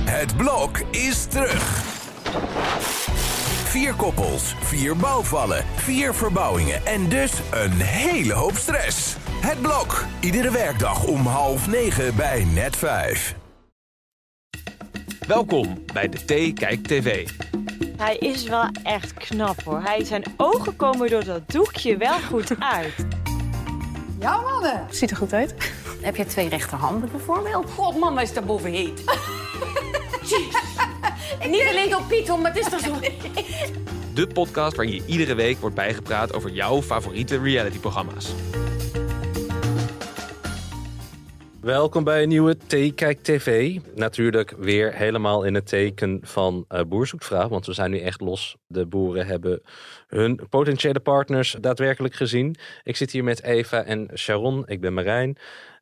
Het blok is terug. Vier koppels, vier bouwvallen, vier verbouwingen en dus een hele hoop stress. Het blok, iedere werkdag om half negen bij net vijf. Welkom bij de T Kijk TV. Hij is wel echt knap hoor. Hij, zijn ogen komen door dat doekje wel goed uit. Ja, mannen. Ziet er goed uit. Heb je twee rechterhanden bijvoorbeeld? God, mama is daarboven heet. Niet alleen op Piet, hoor, maar het is toch zo... De podcast waarin je iedere week wordt bijgepraat over jouw favoriete realityprogramma's. Welkom bij een nieuwe Theekijk TV. Natuurlijk weer helemaal in het teken van eh Boer zoekt vrouw, want we zijn nu echt los. De boeren hebben hun potentiële partners daadwerkelijk gezien. Ik zit hier met Eva en Sharon, ik ben Marijn.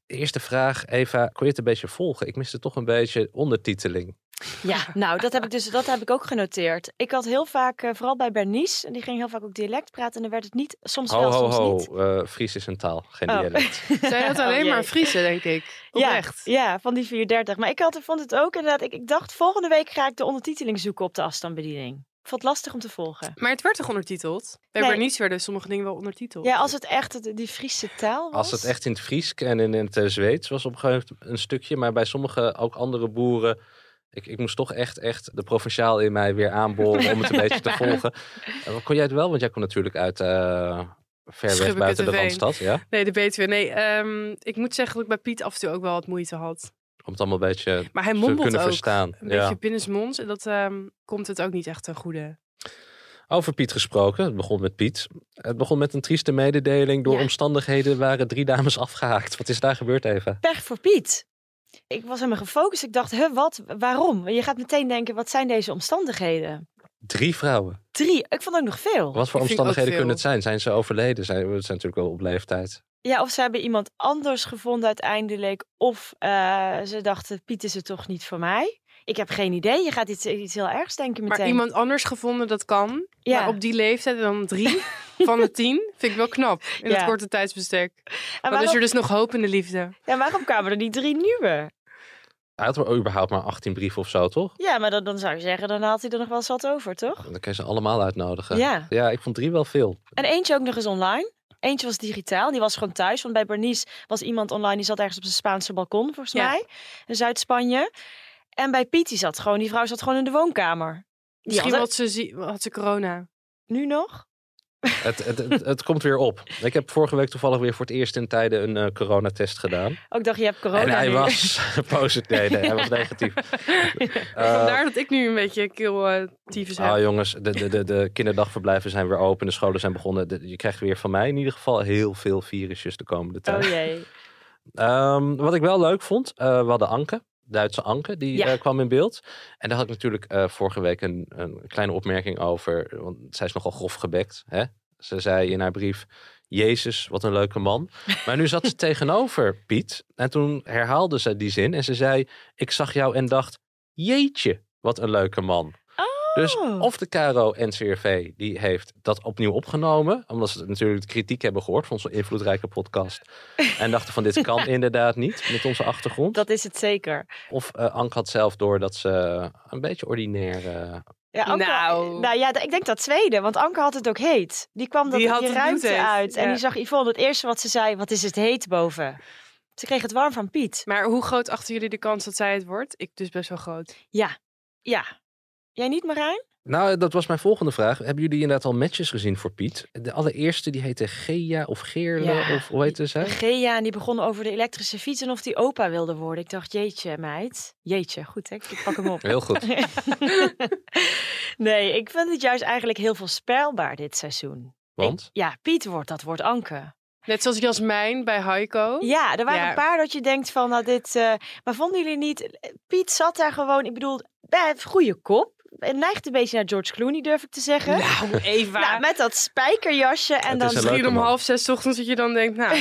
Eerste vraag, Eva, kon je het een beetje volgen? Ik miste toch een beetje ondertiteling. Ja, nou, dat heb ik dus dat heb ik ook genoteerd. Ik had heel vaak, eh, vooral bij Bernice, en die ging heel vaak ook dialect praten. En dan werd het niet, soms Ho, wel, ho, soms ho, niet. eh, Fries is een taal, geen Oh. dialect. Zijn dat Oh, alleen jee. maar Friese, denk ik. Oprecht. Ja, ja, van die 430. Maar ik had, vond het ook inderdaad, ik, ik dacht volgende week ga ik de ondertiteling zoeken op de afstandsbediening. Ik vond het lastig om te volgen. Maar het werd toch ondertiteld? Bij Nee. Bernice werden sommige dingen wel ondertiteld. Ja, als het echt het- die Friese taal was. Als het echt in het Fries en in het eh, Zweeds was op een gegeven moment een stukje. Maar bij sommige ook andere boeren. Ik, ik moest toch echt, echt de provinciaal in mij weer aanboren om het een beetje te volgen. Eh, maar kon jij het wel? Want jij komt natuurlijk uit eh, ver weg Schubbeke buiten de te Randstad. Ja? Nee, de beter. Nee, ehm, ik moet zeggen dat ik bij Piet af en toe ook wel wat moeite had. Om het allemaal een beetje Maar hij te mompelt kunnen ook. verstaan. Een Ja. beetje binnensmonds. En dat ehm, komt het ook niet echt ten goede. Over Piet gesproken. Het begon met Piet. Het begon met een trieste mededeling. Door Ja. omstandigheden waren drie dames afgehaakt. Wat is daar gebeurd, Eva? pech voor Piet. Ik was helemaal gefocust. Ik dacht, hè, wat? Waarom? Je gaat meteen denken, wat zijn deze omstandigheden? Drie vrouwen. Drie. Ik vond ook nog veel. Wat voor Oh, Ik vind ook omstandigheden kunnen veel. het zijn? Zijn ze overleden? Zijn, we zijn natuurlijk wel op leeftijd. Ja, of ze hebben iemand anders gevonden uiteindelijk. Of eh, ze dachten, Piet is het toch niet voor mij. Ik heb geen idee. Je gaat iets, iets heel ergs denken meteen. Maar iemand anders gevonden, dat kan. ja. Maar op die leeftijd en dan drie van de tien vind ik wel knap. In Ja. dat korte tijdsbestek. en Dan waarom, is er dus nog hoop in de liefde. ja, waarom kwamen er die drie nieuwe? Hij had er überhaupt maar 18 brieven of zo, toch? Ja, maar dan, dan zou je zeggen, dan haalt hij er nog wel eens wat over, toch? Dan kan je ze allemaal uitnodigen. Ja. ik vond drie wel veel. En eentje ook nog eens online. Eentje was digitaal, die was gewoon thuis. Want bij Bernice was iemand online, die zat ergens op zijn Spaanse balkon, volgens Ja. mij. In Zuid-Spanje. En bij Piet, die zat gewoon, die vrouw zat gewoon in de woonkamer. Die Misschien had- had ze, zie- had ze corona. Nu nog? Het, het, het, het komt weer op. Ik heb vorige week toevallig weer voor het eerst in tijden een eh, coronatest gedaan. Ook Oh, ik dacht, je hebt corona en hij nu. was positief. Nee, nee, hij was negatief. Eh, Vandaar dat ik nu een beetje keel eh, tyfus dus, heb. Ah jongens, de, de, de, de kinderdagverblijven zijn weer open, de scholen zijn begonnen. De- je krijgt weer van mij in ieder geval heel veel virusjes de komende tijd. Oh jee. Ehm, wat ik wel leuk vond, eh, we hadden Anke, Duitse Anke, die Ja. eh, kwam in beeld. En daar had ik natuurlijk eh, vorige week een, een kleine opmerking over, want zij is nogal grof gebekt. Hè? Ze zei in haar brief, Jezus, wat een leuke man. Maar nu zat ze tegenover Piet en toen herhaalde ze die zin en ze zei, ik zag jou en dacht, jeetje, wat een leuke man. Dus Oh. of de KRO NCRV die heeft dat opnieuw opgenomen. Omdat ze natuurlijk de kritiek hebben gehoord van onze invloedrijke podcast. En dachten van dit kan inderdaad niet met onze achtergrond. Dat is het zeker. Of eh Ank had zelf door dat ze eh, een beetje ordinair... eh, Ja, Anke- Nou. nou ja, d- ik denk dat tweede, want Anke had het ook heet. Die kwam dat Die die, had het ruimte bloedheet, uit en ja. die zag Yvonne. Het eerste wat ze zei, wat is het heet boven? Ze kreeg het warm van Piet. Maar hoe groot achten jullie de kans dat zij het wordt? Ik dus best wel groot. Ja, ja. Jij niet, Marijn? Nou, dat was mijn volgende vraag. Hebben jullie inderdaad al matches gezien voor Piet? De allereerste die heette Gea of Geerle Ja. of hoe heette ze? Gea, en die begon over de elektrische fiets en of die opa wilde worden. Ik dacht, jeetje meid. Jeetje, goed hè, ik pak hem op. Heel goed. nee, ik vind het juist eigenlijk heel voorspelbaar dit seizoen. Want? Ja, Piet wordt, dat wordt Anke. Net zoals Jasmijn bij Heiko. Ja, er waren Oh, Ja. een paar dat je denkt van, nou dit... eh, maar vonden jullie niet... Piet zat daar gewoon, ik bedoel, bij het goede kop. Het neigt een beetje naar George Clooney, durf ik te zeggen. Nou, Eva. Nou, met dat spijkerjasje en Het dan... is een Misschien leuke om man. half zes 's ochtends dat je dan denkt, nou,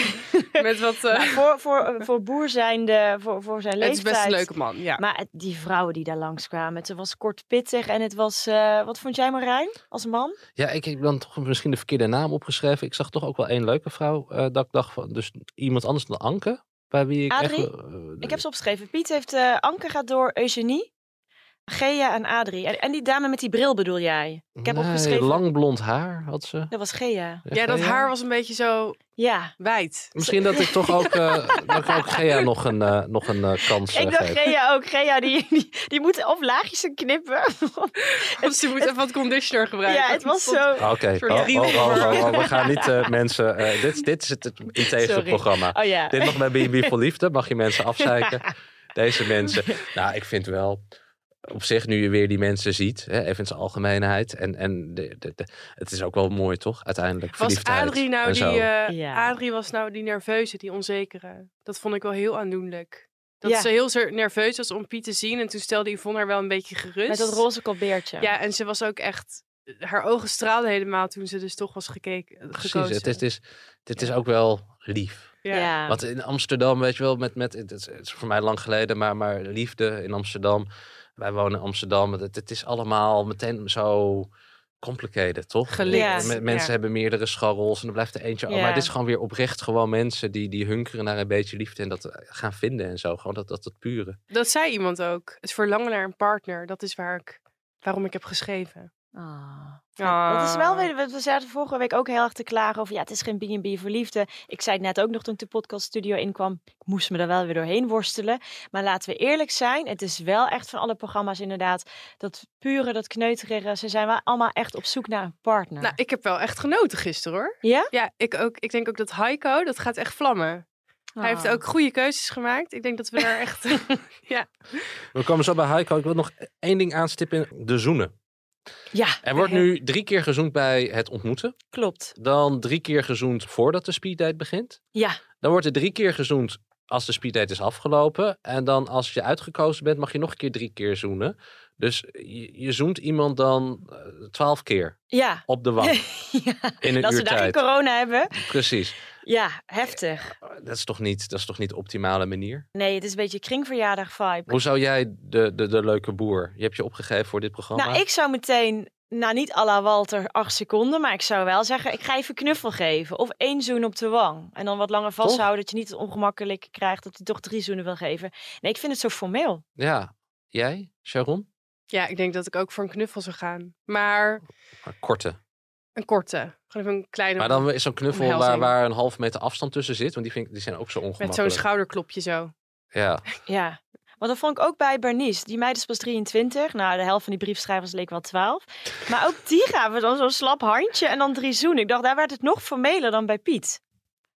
met wat... eh, Maar voor, voor, eh, voor boer zijnde, voor, voor zijn het is leeftijd... best een leuke man, ja. Maar het- die vrouwen die daar langskwamen, het was kort pittig en het was... eh, wat vond jij Marijn, als man? Ja, ik heb dan toch misschien de verkeerde naam opgeschreven. Ik zag toch ook wel één leuke vrouw eh, dat ik dacht van... Dus iemand anders dan Anke? Bij wie ik echt... Adrie? wel- eh, Ik heb ze opgeschreven. Piet heeft... eh, Anke gaat door Eugenie. Gea en Adrie. En, en die dame met die bril bedoel jij? Ik heb Nee, opgeschreven. Lang blond haar had ze. Dat was Gea. Ja, dat Gea? haar was een beetje zo Ja. wijd. Misschien dat ik toch ook, eh, dat ik ook Gea nog een, eh, nog een eh, kans eh, Ik dacht geef. Gea ook. Gea die, die, die moet of laagjes knippen. Want ze moet even wat conditioner gebruiken. ja, het was Stond- zo. Ah, Oké, Voor Oh, oh, drie oh, oh, uur. oh, we gaan niet eh, mensen... eh, dit, dit is het het integere Sorry. programma. Oh ja. Dit nog bij B&B voor Liefde. Mag je mensen afzeiken? Deze mensen. Nou, ik vind wel... Op zich, nu je weer die mensen ziet, hè, even in zijn algemeenheid. En, en de, de, de- het is ook wel mooi, toch? Uiteindelijk. Was verliefdheid Adrie nou en die, zo. eh, Ja. Adrie was nou die nerveuze, die onzekere. Dat vond ik wel heel aandoenlijk. Dat Ja. ze heel zeer nerveus was om Piet te zien. En toen stelde Yvonne haar wel een beetje gerust. Met dat roze kopbeertje. Ja, en ze was ook echt... Haar ogen straalden helemaal toen ze dus toch was gekeken, Precies, gekozen. het is, het, is, het is ook wel lief. Ja. Want in Amsterdam, weet je wel, met, met, het, is, het is voor mij lang geleden, maar, maar liefde in Amsterdam. Wij wonen in Amsterdam. Het, het is allemaal meteen zo complicated, toch? Gelikt. Ja. M- mensen hebben meerdere scharrels en dan blijft er eentje. Ja. Maar het is gewoon weer oprecht gewoon mensen die, die hunkeren naar een beetje liefde en dat eh, gaan vinden en zo. Gewoon dat, dat, dat pure. Dat zei iemand ook. Het verlangen naar een partner, dat is waar ik, waarom ik heb geschreven. Oh. Ah. Dat is wel weer, we we zaten vorige week ook heel erg te klagen over, ja, het is geen B&B voor liefde. Ik zei het net ook nog toen ik de podcaststudio inkwam, ik moest me daar wel weer doorheen worstelen. Maar laten we eerlijk zijn, het is wel echt van alle programma's inderdaad, dat pure, dat kneuterige, ze zijn wel allemaal echt op zoek naar een partner. Nou, ik heb wel echt genoten gisteren hoor. Ja? Ja, ik, ook, ik denk ook dat Heiko, dat gaat echt vlammen. Hij heeft Ah. ook goede keuzes gemaakt. Ik denk dat we daar echt... ja. We komen zo bij Heiko. Ik wil nog één ding aanstippen. De zoenen. Ja, Er wordt nu drie keer gezoend bij het ontmoeten. klopt. Dan drie keer gezoend voordat de speeddate begint. Ja, Dan wordt er drie keer gezoend als de speeddate is afgelopen. En dan als je uitgekozen bent, mag je nog een keer drie keer zoenen. Dus je, je zoent iemand dan eh, twaalf keer ja. op de wang ja. in een Dat uur ze daar geen tijd. corona hebben. Precies. Ja, heftig. Dat is toch niet, dat is toch niet de optimale manier? Nee, het is een beetje kringverjaardag vibe. Hoe zou jij de, de, de leuke boer? Je hebt je opgegeven voor dit programma. Nou, ik zou meteen, nou niet à la Walter, acht seconden, maar ik zou wel zeggen, ik ga even knuffel geven. Of één zoen op de wang. En dan wat langer vasthouden, dat je niet het ongemakkelijk krijgt dat hij toch drie zoenen wil geven. Nee, ik vind het zo formeel. Ja. Jij, Sharon? ja, ik denk dat ik ook voor een knuffel zou gaan. Maar Maar korte. een korte. Gewoon even een kleine... Maar dan is zo'n knuffel waar, Omhelzing. waar een half meter afstand tussen zit. Want die, vind ik, die zijn ook zo ongemakkelijk. Met zo'n schouderklopje zo. Ja. Ja. Want dat vond ik ook bij Bernice. Die meid is pas 23. Nou, de helft van die briefschrijvers leek wel 12. Maar ook die gaven dan zo'n slap handje en dan drie zoenen. Ik dacht, daar werd het nog formeler dan bij Piet.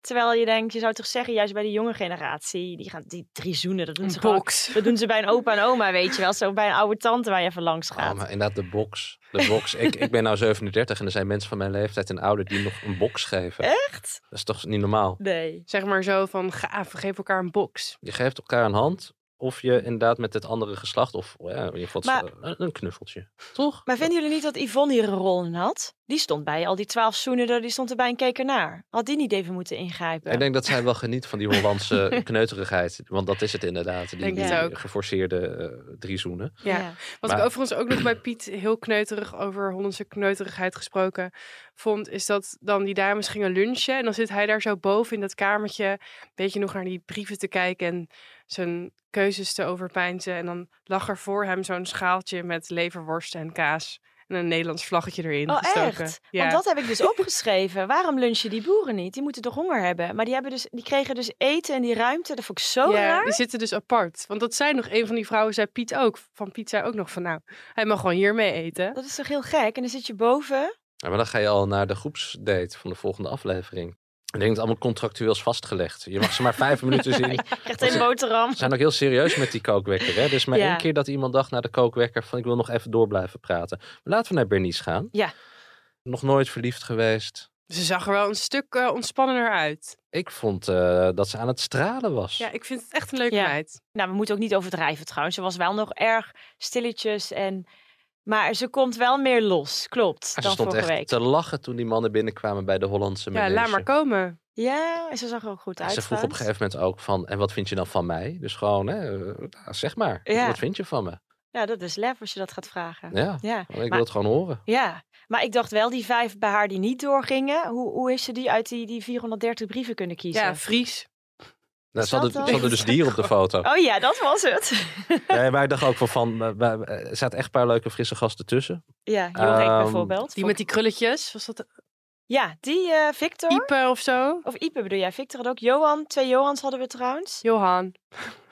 Terwijl je denkt, je zou toch zeggen, juist bij de jonge generatie, die gaan die drie zoenen, dat doen Een ze gewoon box. Dat doen ze bij een opa en oma, weet je wel. Zo bij een oude tante waar je even langs Ah, gaat. maar inderdaad, de box. De box. ik, ik ben nou 37 en er zijn mensen van mijn leeftijd en ouder die nog een box geven. Echt? Dat is toch niet normaal? Nee. Zeg maar zo van, gaaf, we geven elkaar een box. Je geeft elkaar een hand of je inderdaad met het andere geslacht of ja, in ieder geval Maar- een, een knuffeltje. Toch? Maar vinden jullie niet dat Yvonne hier een rol in had? Die stond bij al die twaalf zoenen, er, die stond er bij een keker naar. Had die niet even moeten ingrijpen? Ik denk dat zij wel geniet van die Hollandse kneuterigheid. Want dat is het inderdaad. Die, Denk die het ook. geforceerde eh, drie zoenen. Ja. Wat Maar- ik overigens ook nog bij Piet heel kneuterig over Hollandse kneuterigheid gesproken vond, is dat dan die dames gingen lunchen en dan zit hij daar zo boven in dat kamertje een beetje nog naar die brieven te kijken en zijn keuzes te overpeinzen. En dan lag er voor hem zo'n schaaltje met leverworsten en kaas en een Nederlands vlaggetje erin Oh, gestoken. echt? Ja. Want dat heb ik dus opgeschreven. Waarom lunchen die boeren niet? Die moeten toch honger hebben? Maar die, hebben dus, die kregen dus eten en die ruimte. Dat vond ik zo ja, raar. die zitten dus apart. Want dat zei nog een van die vrouwen, zei Piet ook. Van Piet zei ook nog van, nou, hij mag gewoon hier mee eten. Dat is toch heel gek? En dan zit je boven. Ja, maar dan ga je al naar de groepsdate van de volgende aflevering. Ik denk dat het allemaal contractueel is vastgelegd. Je mag ze maar vijf minuten zien. Je krijgt een boterham. Ze zijn ook heel serieus met die kookwekker. Hè? Dus maar Ja. één keer dat iemand dacht naar de kookwekker van ik wil nog even door blijven praten. Maar laten we naar Bernice gaan. Ja. Nog nooit verliefd geweest. Ze zag er wel een stuk eh, ontspannender uit. Ik vond eh, dat ze aan het stralen was. Ja, ik vind het echt een leuke Ja. meid. Nou, we moeten ook niet overdrijven trouwens. Ze was wel nog erg stilletjes en... Maar ze komt wel meer los, klopt, En ze dan stond vorige echt week. te lachen toen die mannen binnenkwamen bij de Hollandse Ja, mensen. laat maar komen. Ja, en ze zag er ook goed uit. Ze vroeg op een trouwens. gegeven moment ook van, en wat vind je dan van mij? Dus gewoon, hè, eh, nou, zeg maar, Ja. wat vind je van me? Ja, dat is lef als je dat gaat vragen. Ja, Ja, ik wil maar- het gewoon horen. Nou, ja. Maar ik dacht wel, die vijf bij haar die niet doorgingen... hoe, hoe is ze die uit die, die 430 brieven kunnen kiezen? Ja, Fries. Nou, dat ze, hadden, dan? ze hadden dus dier op de foto. Oh ja, dat was het. Nee, maar ik dacht ook van, van eh, wij- eh, er zaten echt een paar leuke frisse gasten tussen. Ja, Jorik Ehm, bijvoorbeeld. Die met die krulletjes, was dat Ja, die eh, Victor. Ipe of zo? Of Ipe bedoel jij. Victor had ook Johan. Twee Johans hadden we trouwens. Johan.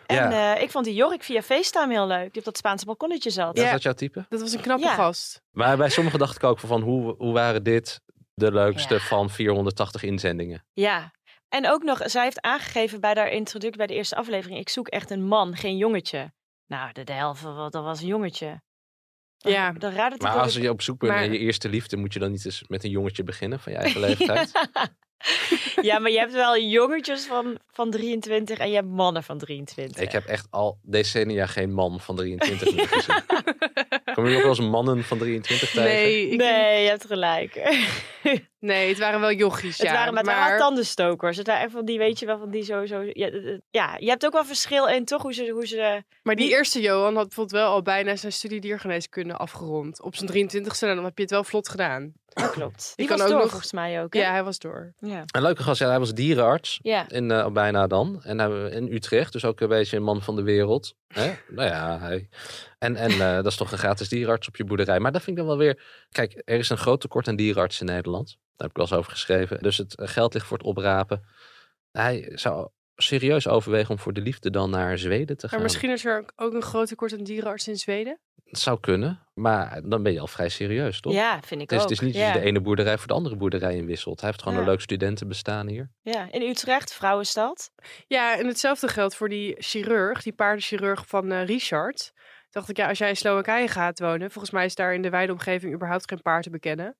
ja, En eh, ik vond die Jorik via FaceTime heel leuk. Die op dat Spaanse balkonnetje zat. dat ja. was jouw type. Dat was een knappe Ja. gast. Maar bij sommigen dacht ik ook van, hoe, hoe waren dit de leukste van 480 inzendingen? Ja. En ook nog, zij heeft aangegeven bij haar introductie bij de eerste aflevering: ik zoek echt een man, geen jongetje. Nou, de, de helft, wa- dat was een jongetje. Dan- Ja. Dan raadde het Maar ik als ook- je op zoek bent dus Maar- naar je eerste liefde, moet je dan niet eens met een jongetje beginnen van je eigen leeftijd? ja, maar je hebt wel jongetjes van, van 23 en je hebt mannen van 23. Ik heb echt al decennia geen man van 23 meer gezien. Kom je nog wel eens mannen van 23 tegen? Nee, ik- Nee, je hebt gelijk. nee, het waren wel jochies, het ja. waren met haar maar... tandenstokers. Het waren echt van die, weet je wel, van die sowieso. Ja, d- d- ja, je hebt ook wel verschil in toch hoe ze. Hoe ze Maar die eerste Johan had bijvoorbeeld wel al bijna zijn studie diergeneeskunde afgerond. Op zijn 23ste, en dan heb je het wel vlot gedaan. klopt. Die kan was ook door nog- volgens mij ook. hè? Ja, hij was door. ja. Een leuke gast, ja, hij was dierenarts. Ja. In, eh, bijna dan. En hij, in Utrecht, dus ook een beetje een man van de wereld. Hè? Nou ja, hij. En, en eh, dat is toch een gratis dierenarts op je boerderij. Maar dat vind ik dan wel weer... Kijk, er is een groot tekort aan dierenartsen in Nederland. Daar heb ik wel eens over geschreven. Dus het geld ligt voor het oprapen. Hij zou serieus overwegen om voor de liefde dan naar Zweden te gaan. Maar misschien is er ook een groot tekort aan dierenarts in Zweden. Het zou kunnen, maar dan ben je al vrij serieus, toch? ja, vind ik Dus Het is, ook. het is niet ja. dat je de ene boerderij voor de andere boerderij in wisselt. Hij heeft gewoon Ja. een leuk studentenbestaan hier. Ja, in Utrecht, Vrouwenstad. Ja, en hetzelfde geldt voor die chirurg, die paardenchirurg van eh, Richard. Dacht ik, ja, als jij in Slowakije gaat wonen, volgens mij is daar in de wijde omgeving überhaupt geen paard te bekennen.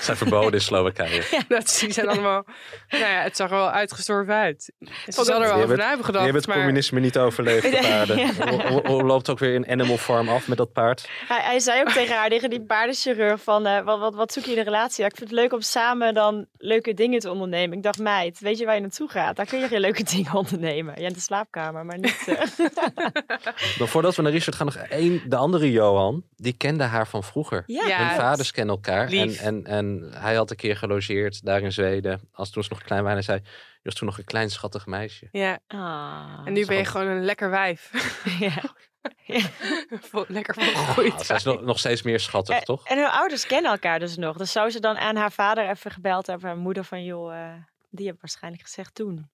Zijn verboden in Slowakije. Nou, dus die zijn allemaal. Nou ja, het zag er wel uitgestorven uit. Ze ook- hadden er wel Je over bent- na hebben gedacht. je hebt het maar... communisme niet overleefd, Nee. paarden. Hoe- hoe- Hoe loopt ook weer in Animal Farm af met dat paard? Hij, hij zei ook tegen haar, tegen die paardenchirurg, van eh, wat, wat, wat zoek je in een relatie? Ja, ik vind het leuk om samen dan leuke dingen te ondernemen. Ik dacht, meid, weet je waar je naartoe gaat? Daar kun je geen leuke dingen ondernemen. Ja, in de slaapkamer, maar niet... eh. Maar voordat we naar Richard gaan, nog één. De andere Johan, die kende haar van vroeger. Ja, Ja. Hun het- vaders kennen elkaar. En, Lief. en, en hij had een keer gelogeerd daar in Zweden. Als toen ze nog klein waren, en zei: Je was toen nog een klein schattig meisje. Ja, Ah. en nu ben je Zo. gewoon een lekker wijf. Ja. Vol- lekker volgegroeid. Ah, zij is nog, nog steeds meer schattig, En, toch? en hun ouders kennen elkaar dus nog. Dus zou ze dan aan haar vader even gebeld hebben, haar moeder van, joh, eh, die heb waarschijnlijk gezegd toen.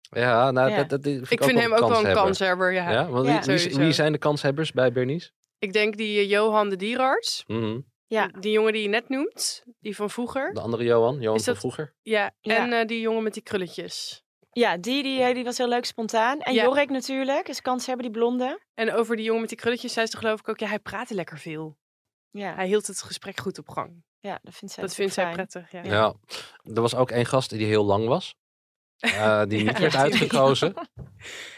Ja, nou, Ja. Dat, dat vind ik, Ik ook vind hem ook wel een kanshebber. kanshebber, ja. Ja, want Ja. wie- Wie, Sowieso. wie zijn de kanshebbers bij Bernice? Ik denk die eh, Johan de dierenarts, Mhm. Ja. die jongen die je net noemt, die van vroeger. De andere Johan, Johan Is van dat- vroeger. Ja, Ja. en eh, die jongen met die krulletjes. Ja, die, die, eh, die was heel leuk spontaan. En Ja. Jorik natuurlijk, is kans hebben, die blonde. En over die jongen met die krulletjes zei ze geloof ik ook, ja, hij praatte lekker veel. Ja, Hij hield het gesprek goed op gang. ja dat vindt zij dat natuurlijk vindt zij fijn. prettig, ja. Ja. er was ook één gast die heel lang was. Eh, die niet Ja, werd die- uitgekozen.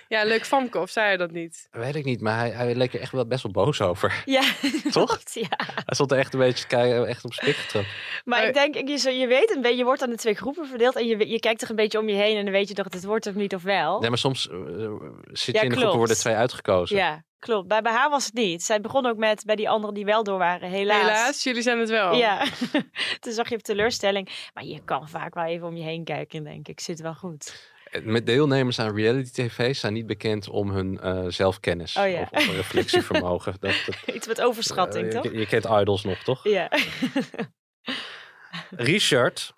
Ja, leuk Famke, of zei hij dat niet? Weet ik niet, maar hij, hij leek er echt wel best wel boos over. Ja, Toch? klopt, ja. Hij stond er echt een beetje te kijken, echt op spik getrapt. Maar Maar- ik denk, ik- je, zo- je weet een beetje, je wordt aan de twee groepen verdeeld en je, we- je kijkt toch een beetje om je heen en dan weet je toch, dit wordt of niet of wel. Nee, maar soms eh, zit Oh. Ja, je in de groep klopt. er worden twee uitgekozen. ja, klopt. Bij, bij haar was het niet. Zij begon ook met bij die anderen die wel door waren, helaas. Helaas, Oh. jullie zijn het wel. Ja, toen zag je op teleurstelling. Maar je kan vaak wel even om je heen kijken, denk ik. Zit wel goed. Eh, Met deelnemers aan reality tv zijn niet bekend om hun eh, zelfkennis Oh ja. of, of reflectievermogen. dat, dat- Iets met overschatting, eh, toch? Je, je kent idols nog, toch? Ja. Richard,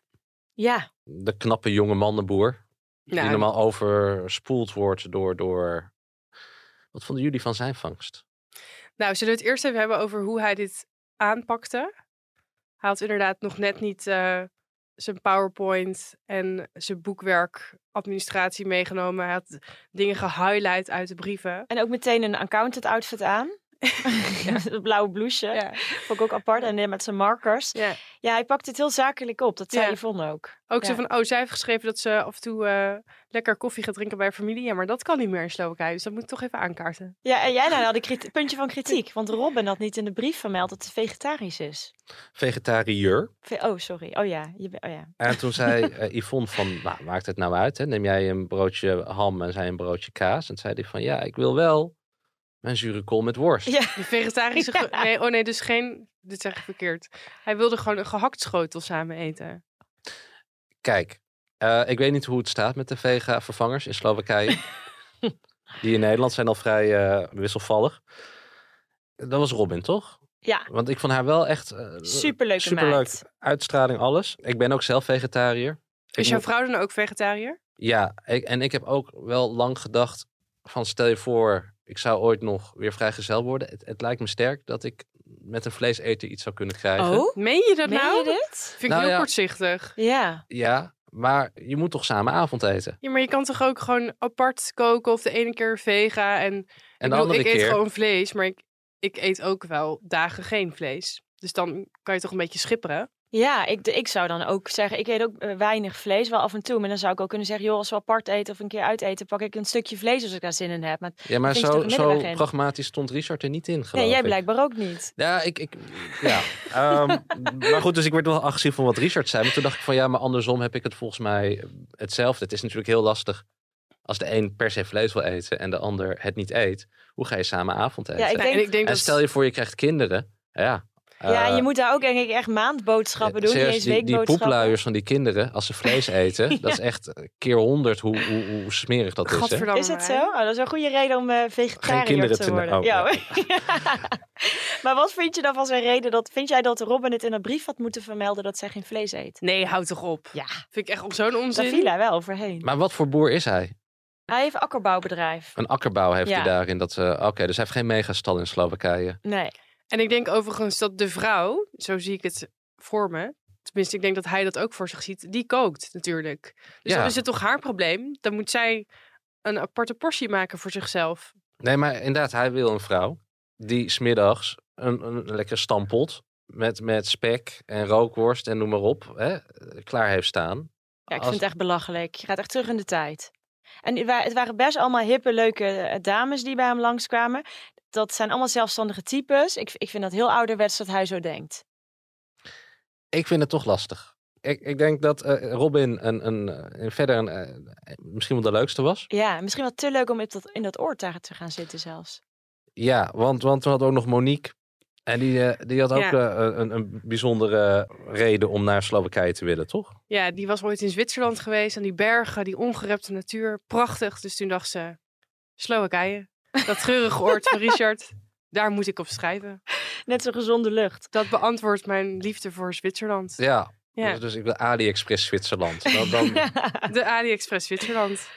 ja, de knappe jonge mannenboer, Nou, die normaal overspoeld wordt door, door... Wat vonden jullie van zijn vangst? Nou, zullen we het eerst even hebben over hoe hij dit aanpakte? Hij had inderdaad nog net niet eh, zijn PowerPoint en zijn boekwerkadministratie meegenomen. Hij had dingen gehighlight uit de brieven. en ook meteen een accountant outfit aan. Dat blauwe blouseje. Ja. Vond ik ook apart. En eh, met zijn markers. Ja. Ja, hij pakt het heel zakelijk op. Dat zei Ja. Yvonne ook. Ook zo Ja. van, oh, zij heeft geschreven dat ze af en toe eh, lekker koffie gaat drinken bij haar familie. Ja, maar dat kan niet meer in Slowakije, dus dat moet ik toch even aankaarten. Ja, en jij nou had een kriti- puntje van kritiek. Want Robin had niet in de brief vermeld dat ze vegetarisch is. Vegetariër. Ve- Oh, sorry. Oh ja. Je be- oh, ja. En toen zei eh, Yvonne van, nou, maakt het nou uit, hè? neem jij een broodje ham en zij een broodje kaas. En toen zei hij van, ja, ik wil wel mijn zure kool met worst. Ja. De vegetarische... ge- Nee, oh nee, dus geen... Dit zeg ik verkeerd. Hij wilde gewoon een gehakt schotel samen eten. Kijk, Eh, ik weet niet hoe het staat met de vega-vervangers in Slowakije. Die in Nederland zijn al vrij eh, wisselvallig. Dat was Robin, toch? Ja, Want ik vond haar wel echt... eh, superleuke superleuk. maat. Uitstraling, alles. Ik ben ook zelf vegetariër. Ik Is jouw moet- vrouw dan ook vegetariër? Ja, ik, en ik heb ook wel lang gedacht van stel je voor, ik zou ooit nog weer vrijgezel worden. Het, het lijkt me sterk dat ik met een vleeseter iets zou kunnen krijgen. Oh, Meen je dat meen nou? je dit? Vind ik Nou heel ja. kortzichtig. Ja, Ja, maar je moet toch samen avondeten. Ja, maar je kan toch ook gewoon apart koken of de ene keer vega en... En ik de bedoel, andere ik keer... eet gewoon vlees, maar ik, ik eet ook wel dagen geen vlees. Dus dan kan je toch een beetje schipperen. ja ik, ik zou dan ook zeggen, ik eet ook eh, weinig vlees, wel af en toe. Maar dan zou ik ook kunnen zeggen, joh, als we apart eten of een keer uit eten, pak ik een stukje vlees als ik daar zin in heb. Maar Ja, maar vind je toch zo, een zo middenweg in? pragmatisch stond Richard er niet in, geloof nee, jij ik. blijkbaar ook niet. Ja, ik... ik ja. Ehm, maar goed, dus ik werd wel agressief van wat Richard zei. Maar toen dacht ik van ja, maar andersom heb ik het volgens mij hetzelfde. Het is natuurlijk heel lastig als de een per se vlees wil eten en de ander het niet eet. Hoe ga je samen avondeten? Ja, ik Nou, denk- en ik denk En dat stel je voor, je krijgt kinderen. Ja, ja, eh, en je moet daar ook denk ik echt maandboodschappen doen, niet serieus, eens die, die weekboodschappen. poepluiers van die kinderen, als ze vlees eten, dat is echt eh, keer honderd hoe, hoe, hoe smerig dat is. Hè? Gadverdamme, Is dat hè? zo? Oh, dat is een goede reden om eh vegetariër kinderen te te ne- worden. oh, ja. ja. maar wat vind je dan van zijn reden? Dat, vind jij dat Robin het in een brief had moeten vermelden dat zij geen vlees eet? Nee, houd toch op. Ja, Vind ik echt op zo'n daar onzin. viel hij wel overheen. Maar wat voor boer is hij? Hij heeft akkerbouwbedrijf. Een akkerbouw heeft Ja. hij daarin. Dat, eh, Oké, dus hij heeft geen megastal in Slowakije. Nee. En ik denk overigens dat de vrouw, zo zie ik het voor me, tenminste ik denk dat hij dat ook voor zich ziet, die kookt natuurlijk. Dus Ja. dan is het toch haar probleem. Dan moet zij een aparte portie maken voor zichzelf. Nee, maar inderdaad, hij wil een vrouw die smiddags een, een lekkere stampot met, met spek en rookworst en noem maar op hè, klaar heeft staan. Ja, ik Als- vind het echt belachelijk. Je gaat echt terug in de tijd. En het wa- het waren best allemaal hippe, leuke eh, dames die bij hem langskwamen. Dat zijn allemaal zelfstandige types. Ik, ik vind dat heel ouderwets dat hij zo denkt. Ik vind het toch lastig. Ik, ik denk dat eh, Robin een, een, eh, verder een, eh, misschien wel de leukste was. Ja, misschien wel te leuk om in dat, in dat oor daar te gaan zitten zelfs. Ja, want, want we hadden ook nog Monique. En die, eh, die had ook Ja. eh, een, een bijzondere reden om naar Slowakije te willen, toch? Ja, die was ooit in Zwitserland geweest aan die bergen, die ongerepte natuur, prachtig. Dus toen dacht ze, Slowakije, dat treurige oord van Richard, daar moet ik op schrijven. Net zo'n gezonde lucht. Dat beantwoordt mijn liefde voor Zwitserland. Ja. Ja. Dus, dus ik wil AliExpress Zwitserland. Dan, dan, De AliExpress Zwitserland.